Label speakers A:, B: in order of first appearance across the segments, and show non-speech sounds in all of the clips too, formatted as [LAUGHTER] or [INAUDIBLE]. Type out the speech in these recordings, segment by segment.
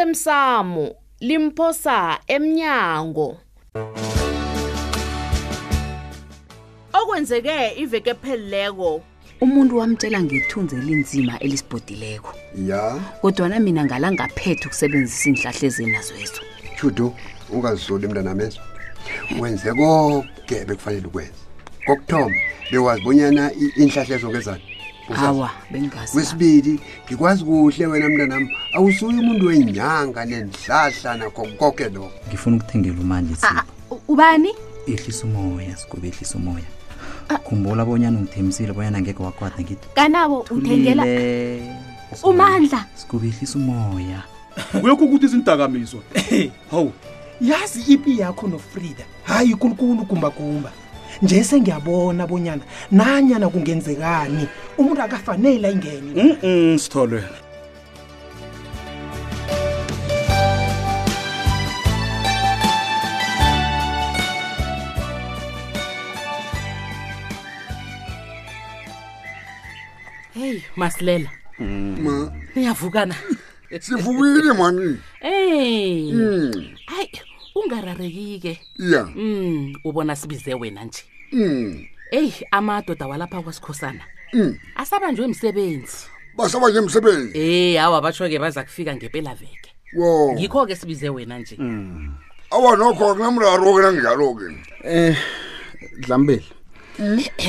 A: osemsamo limphosa emnyango okwenzeke iveke phelileko
B: umuntu wamtshela ngethunzi elinzima elisibhodileko
C: ya
B: kodwana mina ngalangaphethe ukusebenzisa iinhlahla ezinazwezo
C: judu ungazizoli mntanamezo wenze konke bekufanele ukwenza kokuthoma bewazi bonyana i- iinhlahla ezongezana
B: awa bengingazi
C: kwesibili ngikwazi kuhle wena mntanami awusuye umuntu wenyanga nenhlahla nakho konke lokho
D: ngifuna ukuthengela umali
E: Ah, u- ubani
D: ehlisa umoya sigube ehlisa umoya khumbula bonyana ungithembisile bonyana angeke wakwada ngithi
E: kanabo uthengela
D: "Thulile."
E: umandla
D: sigube ehlisa umoya
F: kuyekho ukuthi izindakamizwa hawu
G: yazi ipi yakho nofrida hayi kulukulu gumbagumba nje sengiyabona bonyana nanyana kungenzekani umuntu akafanele ayingene
F: mm sitholwe
H: heyi masilela
C: ma
H: niyavukana
C: sivukile mani Hmm.
H: ey
C: Mm.
H: hayi ungarareki-ke
C: ya
H: um ubona sibize wena nje eyi amadoda walapha kwasikhosana asabanjwe emsebenzi
C: basaba nje emsebenzi
H: eyi awa batsho-ke baza kufika ngempelaveke
C: wo
H: ngikho-ke sibize wena nje
C: awa nokho akunamraro-ke nanginjalo-ke
I: Eh Dlambele.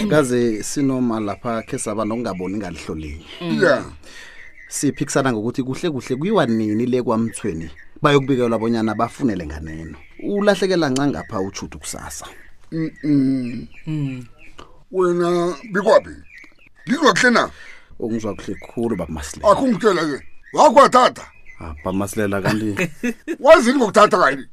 I: Kaze sinoma lapha ke saba nokungaboni ngalihlo linye.
C: ya
I: Siphikisana ngokuthi kuhle kuhle kuyiwa nini le kwaMthweni. Bayokubikelwa abonyana bafunele nganeno. Ulahlekela nca ngapha uJudu kusasa.
C: wena bikwaphi ngizwa kuhle na
I: Ungizwa kuhle kukhulu bakumasilela.
C: akungitshela-ke wakwathatha
I: Apha Ah, masilela kanti
C: wazini ngokuthatha kani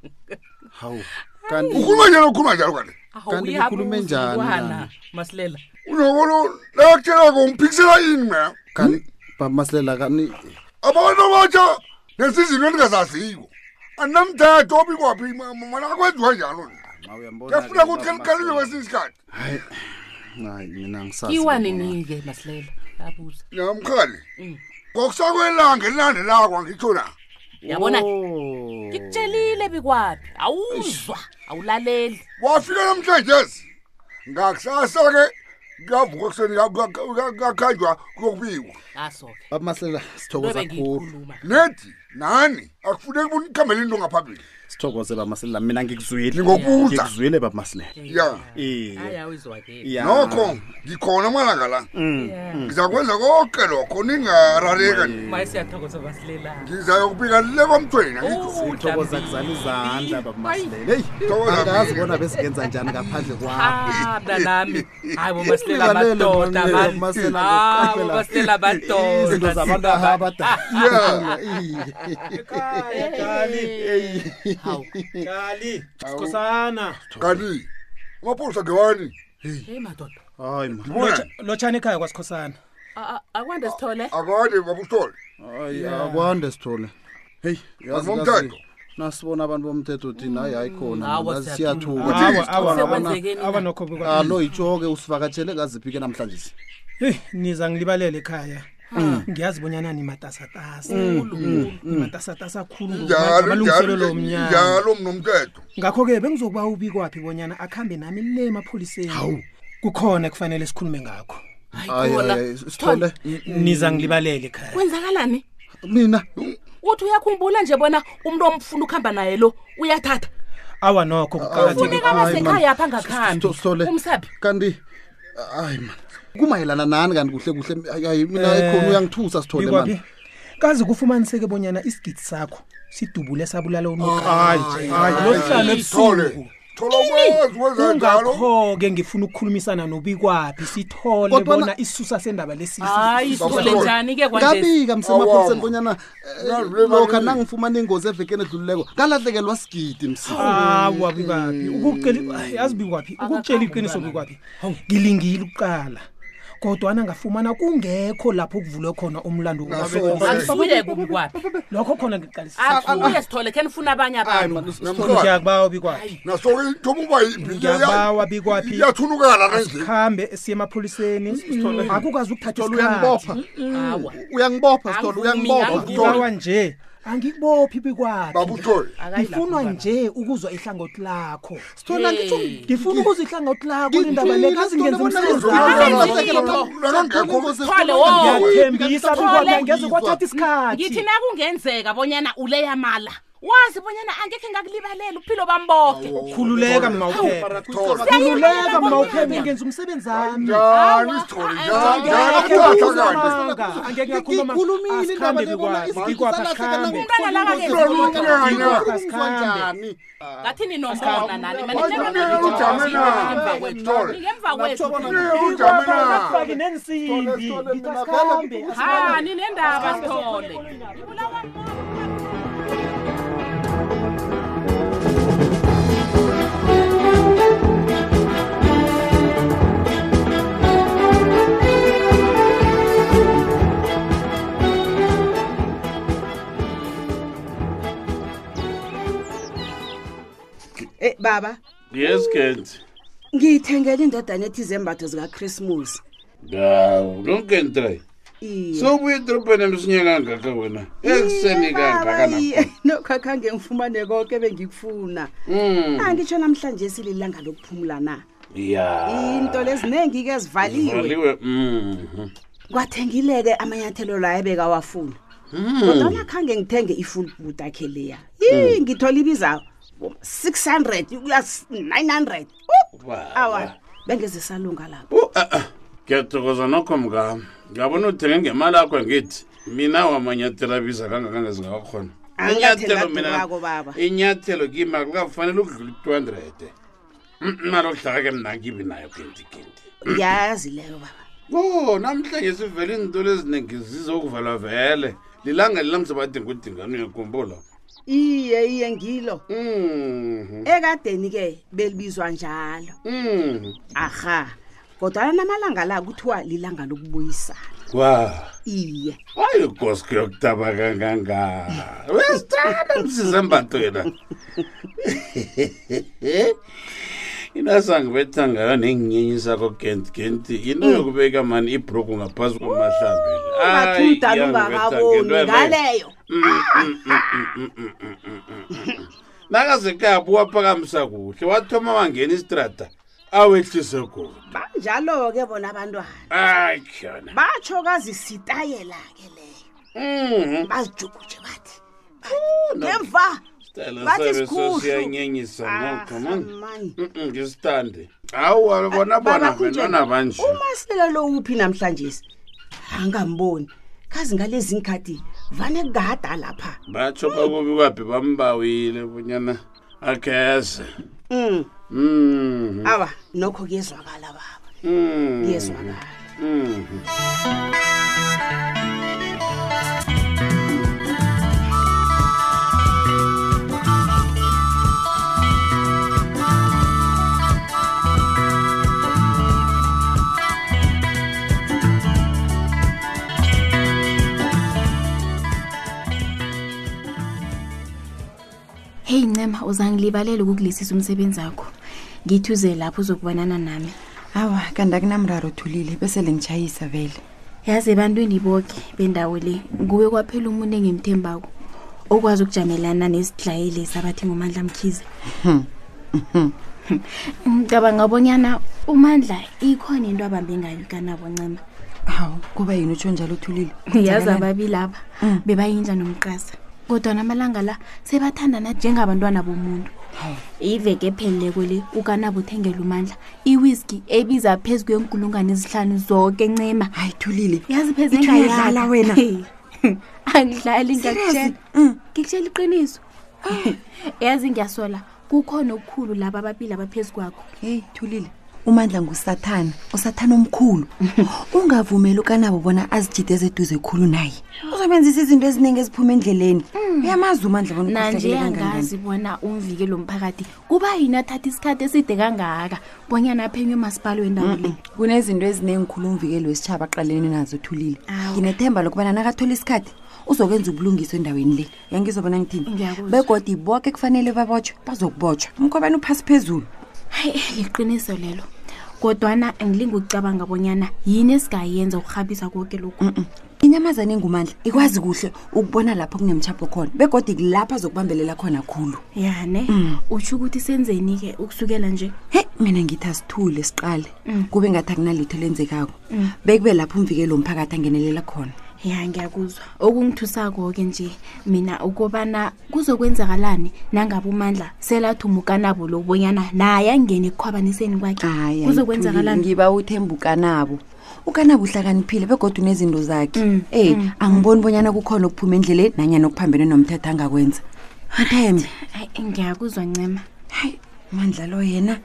I: hawu kanti
C: ukhuluma njalo ukhuluma njalo kani
H: Aho,
I: Kanti
H: uyabuza
I: nikhulume njani
H: umntwana,
I: nani?
H: masilela
C: unokolo lakutshela-ko ungiphikisela yini mna
I: kanti bamasilela kanti
C: abantu abatsha nesizinto endingazaziyo andinamthetho obikwaphi mana akwenziwa njalo kuyafuna ukuthi kaliqalile kwesinye isikhathi
I: Hayi mina ngisazi.
H: kiwa nini-ke masilela abuza
C: namkhali ngokusakwelanga elilandelako angitsho na
H: yabona ngikutshelile bikwaphi awuzwa awulaleli
C: wafika namhlanje ngakusasa-ke kuyavuka ekuseni kuya- kuya- kuya- kuyakhanjwa kuyokubikwa
H: aso-ke
I: Bamasilela sithokoza
H: lobe
I: kukhulu.
H: ngiyikhuluma
C: nedi nani akufuneki bunikhambele into ngaphambili
I: Sithokoze bamasilela mina ngikuzwile.
C: Ngikubuza.
I: Ngikuzwile bamasilela.
C: ya
I: Eh.
H: ayawizwakele
I: Ya.
C: nokho ngikhona amalanga la ngizakwenza konke lokho ningarareka nje.
H: maye siyathokoza masilela
C: ngizayokubika le kwamthweni
I: uthokoza kuzana izandla babamasilele heyi
C: Thokoza
I: angazi
C: mina.
I: bona besingenza njani ngaphandle kwakho
H: Ah, mntanami hayi bomasilela
I: Ulalele
H: madoda
I: mani,
H: tota, man.
I: bamasilela
H: Ah,
I: bokuqaphela
H: bomasilela tota,
I: izinto zabantu
H: madoda Hawu.
G: kali sikhosana
C: kanti amapholisa gewani
H: hey madoda
I: hayi ma
G: lotshani ekhaya kwasikhosana
H: A- a- akwande sithole
C: akade babusole
I: hayi akwande sithole heyi yazi
C: Abomthetho.
I: kazi, nasibona abantu bomthetho thina hayi hayi khona
H: Awa,
I: ngazi
H: siyathula.
I: siyathuka
G: awa awa
H: Sekwenzekeni na?
G: awa nokho bikwa-
I: alo yitsho-ke usivakatshele kaziphi-ke namhlanje
G: heyi niza ngilibalele ekhaya Hmm. ngiyazi bonyana nimatasatasa nimatasatasa khulu
C: njalo njalo
G: ngamalungiselelo lomnyaka
C: njalo mnomthetho
G: ngakho-ke bengizokuba ubikwaphi bonyana akhambe nami le emapholiseni hawu kukhona kufanele sikhulume ngakho
I: Hayi,
H: khona.
I: hayi, hayi, sithole
G: niza ngilibalele ekhaya
H: kwenzakalani
I: mina
H: uthi uyakhumbula nje bona umuntu omfuna ukuhamba naye lo uyathatha
G: awa nokho kuqakatheke
H: funeka
I: Hayi, man.
H: basekhaya apha
I: Sitho- sithole
H: ngakhambi umsaphi
I: kanti hayi man kumayelana nani kanti kuhle kuhle hayi, hayi mina
G: Eh,
I: hayi khona uyangithusa sithole
G: Bikwaphi?
I: mani
G: kazi kufumaniseke bonyana isigidi sakho sidubule sabulala
C: Hayi, Sithole. thola ukwazi wenza njalo
G: ungakho-ke ngifuna ukukhulumisana nobikwaphi sithole
I: Kodwana-
G: bona isisusa sendaba lesi
H: hayi sithole
C: Babuhlungu.
H: njani-ke kwanje Oh,
I: ngabika msemapholiseni
C: Awawa.
I: bonyana eh,
C: Nalule
I: lokha
C: balule.
I: nangifumana ingozi evekeni edlulileko ngalahlekelwa sigidi msi
G: awa bikwaphi Ukukuceli- Ay, yazi bikwaphi ukukutshela iqiniso bikwaphi ngilingile ukuqala kodwana ngafumana kungekho lapho kuvulwe khona umlando
C: Naso-ke.
H: akusuye kukwaphi
G: lokho khona ngiqalisa
H: akuye sithole khe nifuna abanye abantu
C: namhlanje
G: ngiyakubawa bikwaphi
C: nasoke ithoma uba yimbi
G: ngiyabawa bikwaphi
C: iyathunukala nanje
G: sikhambe siye emapholiseni akukwazi ukuthatha
I: uyangibopha
G: isikhathi
H: awa
I: uyangibopha sithole
H: Angivumi,
I: uyangibopha
H: angivumi.
G: ngibawa nje angikubophi bikwaphi
C: babuthole
G: ngifunwa nje ukuzwa ihlangothi lakho
J: sithona
H: Hey.
J: ngitsho
G: ngifuna ukuzwa ihlangothi lakho lindaba leazingenza
H: oh.
G: ngiyathembisa bikwaphi angeze kwathatha
H: ngithi
G: isikhathi
H: nakungenzeka bonyana uleyamala wazi bonyana angekhe ngakulibalela uphilo bami boke
G: Oh. khululeka mawuphephe khululeka mawuphephe ngenza umsebenzi wami
C: njani isithole njani
G: Angeke
C: athatha
G: ngakhuluma
C: kanti
G: amanga, angeke ngakhuluma amanga.
J: Ngiyikhulumile indaba
G: Asikhambe
J: le bona
G: bikwaphi,
J: isifiso
G: bikwaphi
J: salahlekela
G: asikhambe.
H: umntwana
C: Ngiyakhumbula.
G: Bikwaphi asikhambe.
H: ngathi ninomona nani
C: ujame na
H: ngemva kwethu
C: ujame na
G: Akufaki nensimbi, ngithi asikhambe,
H: ha ninendaba sithole Ibulawa ngumoya.
K: Eh baba,
I: yes kent
K: ngiyithengele indodana ethi izembatho zikaChristmas.
I: hawu lonke ntray
K: Iye.
I: sowubuya edrobheni emsinya kangaka wena ekuseni kangaka
K: [LAUGHS] nokhakhange ngifumane konke bengikufuna. Angitsho Ah, namhlanje sililanga lokuphumula na. Into leziningi ke zivaliwe.
I: valiwe mhm.
K: Kwathengileke amanyathelo la ebeka wafuna. Kodwa khange ngithenge ifull boot akhe leya. Yi ngithola ibiza 600 ukuya 900. Uh,
I: Baba.
K: Awa, bengeze salunga lapho.
I: Uh, ah, ah. ngiyathokoza nokho mngam ngabona uthenge ngemali yakho ngithi mina wamanyathelo abiza kangakanga zingakakhona
K: Angiyathenga kwakho baba.
I: inyathelo kimi akukafanele ukudlula i-two hundred Mm, mali okudlaka ke mna ngibi nayo kentikinti
K: Ngiyazi leyo baba.
I: o namhlanje sivele iintolo eziningi zizokuvalwa vele lilanga lilamse badinga udingane uyakhumbula
K: Iye iye ngilo.
I: Hmm. Mhm,
K: ekadeni ke belibizwa njalo
I: mhm.
K: aha kodwa namalanga la kuthiwa lilanga lokubuyisana
I: wa
K: iye
I: hayi goske yokutaba kanganga wesitana msizembato [LAUGHS] yena inasangibetha ngayo nenginyenyi sakho kent kent into yokubeka mani ibroku ngaphasi kwamahlambeli Ayi,
K: mathudala
I: iyangibetha,
K: ungakaboni
I: ngento yaleyo.
K: ngaleyo
I: nakazekhaya buwa phakamisa kuhle wathoma wangena isitrata awehlise kuhle
K: banjalo-ke bona abantwana
I: ayi khona
K: batsho kazisitayela-ke leyo
I: Mhm.
K: bazijukuje bathi
I: no.
K: emva
I: Sitayela
K: Bathi Ah,
I: sabe
K: sikhuhlwa.
I: sesiyanyenyisa nokho man
K: Amanye.
I: Mm-mm, Mm, ngisithande awu bona bona benona banje
K: umasela lo uphi namhlanje angamboni khazi ngalezi ngikhathi vane kugada lapha
I: batsho bakubi kwaphi bambawile bunyana akheze
K: um
I: Mhm,
K: awa nokho kuyezwakala baba
I: mhm,
K: kuyezwakala
I: mhm.
E: heyi ncema uzangilibalela ukukulisisa umsebenzi akho ngithi uze lapho uzokubanana nami
B: awa kanti akunamraro thulile bese lingitshayisa vele
E: yazi ebantwini boke bendawo le nguwe kwaphela umuntu engimthembako okwazi ukujamelana nesidlayeli sabathi ngumandla mkhize ngicabanga bonyana umandla ikhona into abambe ngayo kanabo ncema
B: hawu kuba yini utsho njalo uthulile
E: yazi ababili aba
B: Mm.
E: bebayindla nomqasa kodwa namalanga la sebathandana njengabantwana bomuntu iveke epheleleko le ukanabo uthengela umandla iwiski ebiza phezu kwenkulungwane ezihlanu zoke ncema
B: hayi thulile
E: yazi phezu
B: Ithi uyadlala
E: engayidlala.
B: wena? Mm.
E: Hey, angidlali ngiyakutshela ngikutshela iqiniso
B: Ah.
E: yazi ngiyasola kukhona okukhulu laba ababili abaphezu kwakho
B: heyi thulile umandla ngusathana usathana omkhulu
E: [LAUGHS]
B: ungavumeli ukanabo bona azijideze eduze khulu naye uzobenzisa izinto eziningi eziphuma endleleni uyamazi umandla bona
E: Hmm. nanje
B: ukhohlakele kangangani.
E: angazi bona umvikelo womphakathi kuba yini athatha isikhathi eside kangaka bonyana aphenywe umasipali wendawo le
B: kunezinto ezinengikhulu umvikeli wesitshaba aqalene nazo uthulile
E: Awu.
B: nginethemba lokubana nakathola isikhathi uzokwenza ubulungiso endaweni le yangizobona ngithini
E: Ngiyakuzwa.
B: begodi boke kufanele babotshwe bazokubotshwa umkhobani uphasi phezulu
E: hayi liqiniso lelo kodwana ngilinga ukucabanga bonyana yini esingayenza ukurhabisa konke lokhu
B: inyamazane engumandla ikwazi kuhle ukubona lapho kunemtshapho khona begodwa kulapha azokubambelela khona khulu
E: yane
B: Mm.
E: utsho ukuthi senzeni-ke ukusukela nje
B: heyi mina ngithi asithule siqale
E: Mm.
B: kube ngathi akunalitho lenzekako
E: Mm.
B: bekube lapho umvikeli womphakathi angenelela khona
E: ya ngiyakuzwa okungithusako-ke nje mina ukobana kuzokwenzakalani nangabe umandla selathumukanabo lobonyana naye angene ekukhwabaniseni kwakhe
B: Hayi,
E: kuzokwenzakalani
B: ayithuli, ngiba uthemba ukanabo ukanabo uhlakaniphile begodwa unezinto zakhe
E: Mm,
B: eyi
E: mm,
B: angiboni bonyana kukhona okuphuma endleleni nanyana okuphambene nomthetho angakwenza uthembe
E: hayi ngiyakuzwa ncema
B: hayi mandla lo yena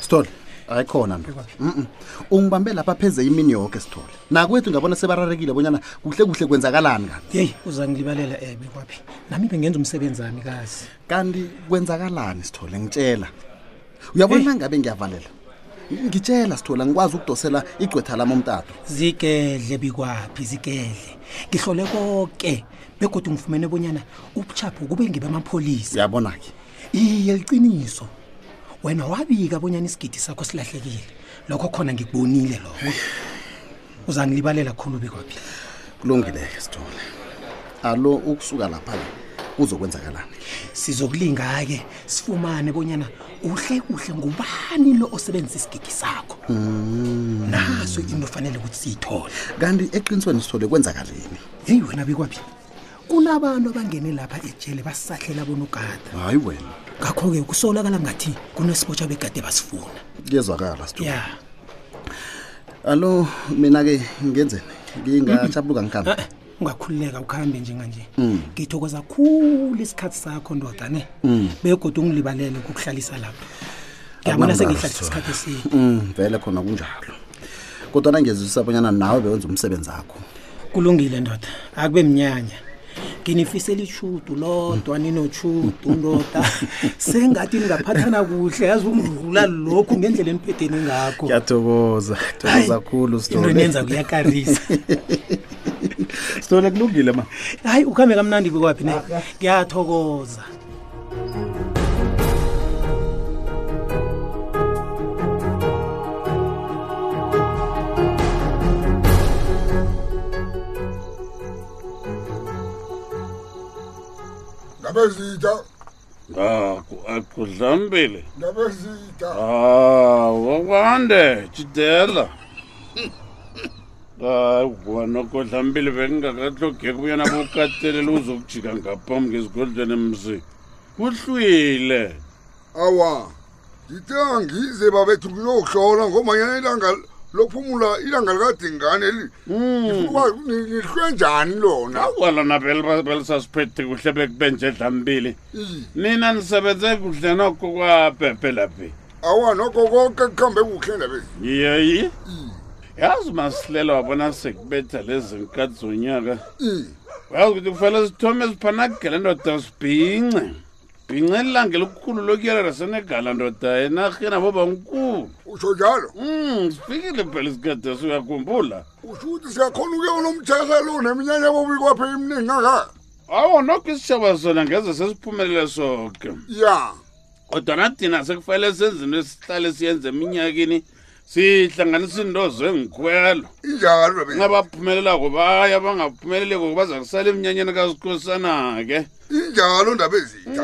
J: sithole hayi khona nto Mm-mm. ungibambe lapha pheze imini yoke sithole nakwethu ngabona sebararekile bonyana kuhle kuhle kwenzakalani kanti
G: yeyi uzangilibalela ebe kwaphi nami bengenza umsebenzi ami kazi
J: kanti kwenzakalani sithole ngitshela uyabona ngabe ngiyavalela ngitshela sithole ngikwazi ukudosela igqwetha lami umtato
G: zigedle bikwaphi zigedle ngihlole konke begodwa ngifumene bonyana ubuchapho kube ngibamapholisa
J: uyabona ke
G: iye liqiniso wena wabika bonyana isigidi sakho silahlekile lokho khona ngikubonile lokho uzangilibalela khulu bekwaphi
J: kulungileke sithole alo ukusuka lapha-ke kuzokwenzakalani
G: sizokulinga-ke sifumane bonyana uhle kuhle ngubani lo osebenzisa isigidi sakho naso into fanele ukuthi siyithole
J: kanti eqinisweni sithole kwenzakaleni
G: heyi wena bekwaphi kunabantu abangene lapha ejele basahlela bona ugada
J: hayi wena
G: ngakho-ke kusolakala ngathi kunesibotshwa begade basifuna
J: kuyezwakala sithole
G: ya
J: alo mina-ke ngenzeni ngingachabuka ngihambe
G: Eh, ungakhululeka ukuhambe njenganje
J: Mm.
G: ngithokoza khulu isikhathi sakho ndoda ne
J: Mm.
G: begodwa ungilibalele ukukuhlalisa lapha ngiyabona sengihlalisa isikhathi eside
J: Mm, vele khona kunjalo kodwana ngiyezwisisa abonyana nawe bewenza umsebenzi akho
G: kulungile ndoda akube mnyanya nginifisela ishudu lodwa ninoshudu
J: [LAUGHS]
G: ndoda sengathi ningaphathana kuhle yazi ungidlula lokhu ngendlela eniphetheni ngakho
J: ngiyathokoza
G: Hayi,
J: khulu
G: into
J: [LAUGHS]
G: niyenza kuyakarisa
J: sithole kulungile ma
G: hayi ukuhambe kamnandi bekwaphi ne ngiyathokoza
C: ngabe zitha
I: haku akudlambile
C: ngabe zitha
I: hawu akwande Ah, jidela hayi wanoko dlambile bekungakatlogeki ubuyana kukatelela uzokujika ngaphambi ngezigodlweni emzini kuhlwile
C: awa ngithe angize babethu kuyohlola ngomanyana ilanga lophumula ilanga likadingane li- ngifuna ukwazi ukuthi ni- nilihlwe njani lona
I: akwalona belisasiphethe kuhle bekubenje dlambile nina nisebenze kuhle nokho kwabhebhe laphi
C: awa nokho konke kuhambe kuhle ndabezi
I: yeyi yazi masilela wabona sekubetha lezi nkati zonyaka uyazi ukuthi kufanele sithome siphanagela ndoda sibhince bhince lilange lokukhulu lokuyelera senegala ndoda enarheni aboba nkulu
C: utsho njalo
I: um sifikile phela isikade suyakhumbula
C: usho ukuthi siyakhona ukuyona umthekelo neminyanya bobikwaphi iminingi ngaka
I: awu nokho isitshaba sona ngeze sesiphumelele soke
C: ya
I: kodwa nathina sekufanele senze into esihlale siyenze eminyakeni sihlanganisa into zengikhwelo
C: injalo
I: abaphumelelako baya abangaphumeleleko baza kusala eminyanyeni kasikhosana-ke
C: injalo ndaba ezitha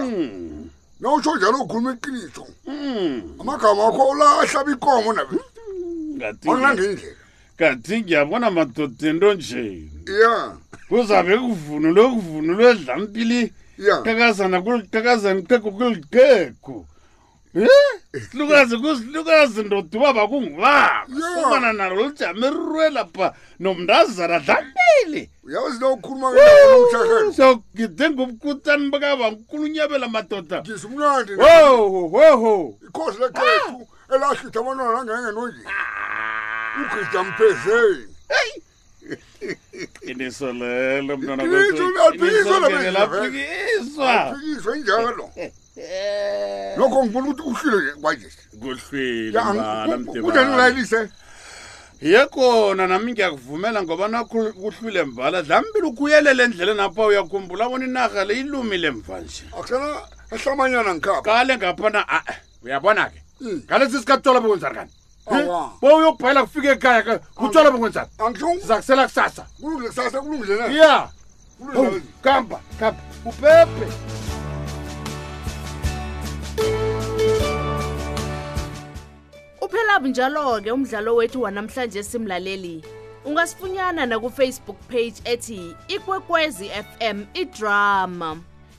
C: nawutsho njalo ukhuluma iqiniso amagama akho olahlaba ikomo nabe
I: Ngathi-
C: wanangendlela
I: kanti ngiyabona madoda into nje
C: ya
I: kuzabe kuvunulwe kuvunulwe edlampili
C: Ya.
I: qakazana kuliqakazana iqego kuliqego e
C: Eh.
I: silukazi kusilukazi ndoda ubaba kungubaba ubana nalo lijame rirwe lapha nomntazana dlampili
C: uyawazi lo ukhuluma ngenomhlahelo
I: siyagide ngobukutani bakabankulu unyabela madoda
C: ngisimnandi
I: woho woho
C: ikhosi lekhethu
L: Ah.
C: elahlitha abantwana langenge nonje ugida mphezeni
I: inisolelo
C: Iqiniso uyaphikiswa lapha endlini,
L: Ah.
I: mntwanaphikiswa
C: aphikiswe njalo nokho ngibona ukuthi uhlile nje kwanje
I: kuhlwile
C: Ya, ang-
I: mbala
C: ku- ku- kunjani ulayelise
I: yekona nami ngiyakuvumela ngoba nakho kuhlwile mvala dlambili ukuyelele endleleni apha uyakhumbula bona inarha le ilumile mva nje
C: akusana ehlamanyana ngikhapha
I: kale ngaphana a-e uyabona ke ngalesi sikhathi tsola bokwenza kani
C: Hmm. Awa.
I: bo uyokubhayela kufika ekhaya ke kutsola bokwenzani zakusela kusasa
C: kulungile kusasa kulungile na
I: ya
C: Kulungile
I: Hawu,
C: nawe.
I: kamba kamba upepe
A: uphela bunjalo-ke umdlalo wethu wanamhlanje simlaleli ungasifunyana nakufacebook page ethi ikwekwezi fm idrama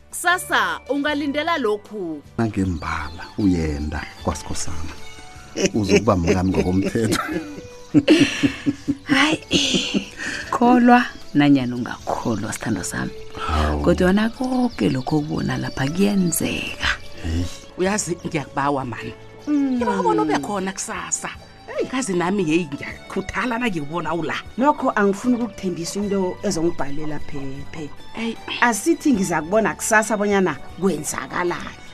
A: kusasa ungalindela lokhu
J: nangembala uyenda kwasikhosana uzokuba
L: [LAUGHS]
J: mkami ngokomthetho
L: kholwa nanyani ungakholwa sithando sami kodwana konke lokho okubona lapha kuyenzeka
H: uyazi ngiyakubawa mani ngibabona ube khona kusasa kazi nami yeyi ngiyakhuthala nangikubona ula
K: nokho angifuni ukukuthembisa into ezongibhalela phephe asithi ngiza kubona kusasa bonyana kwenzakalani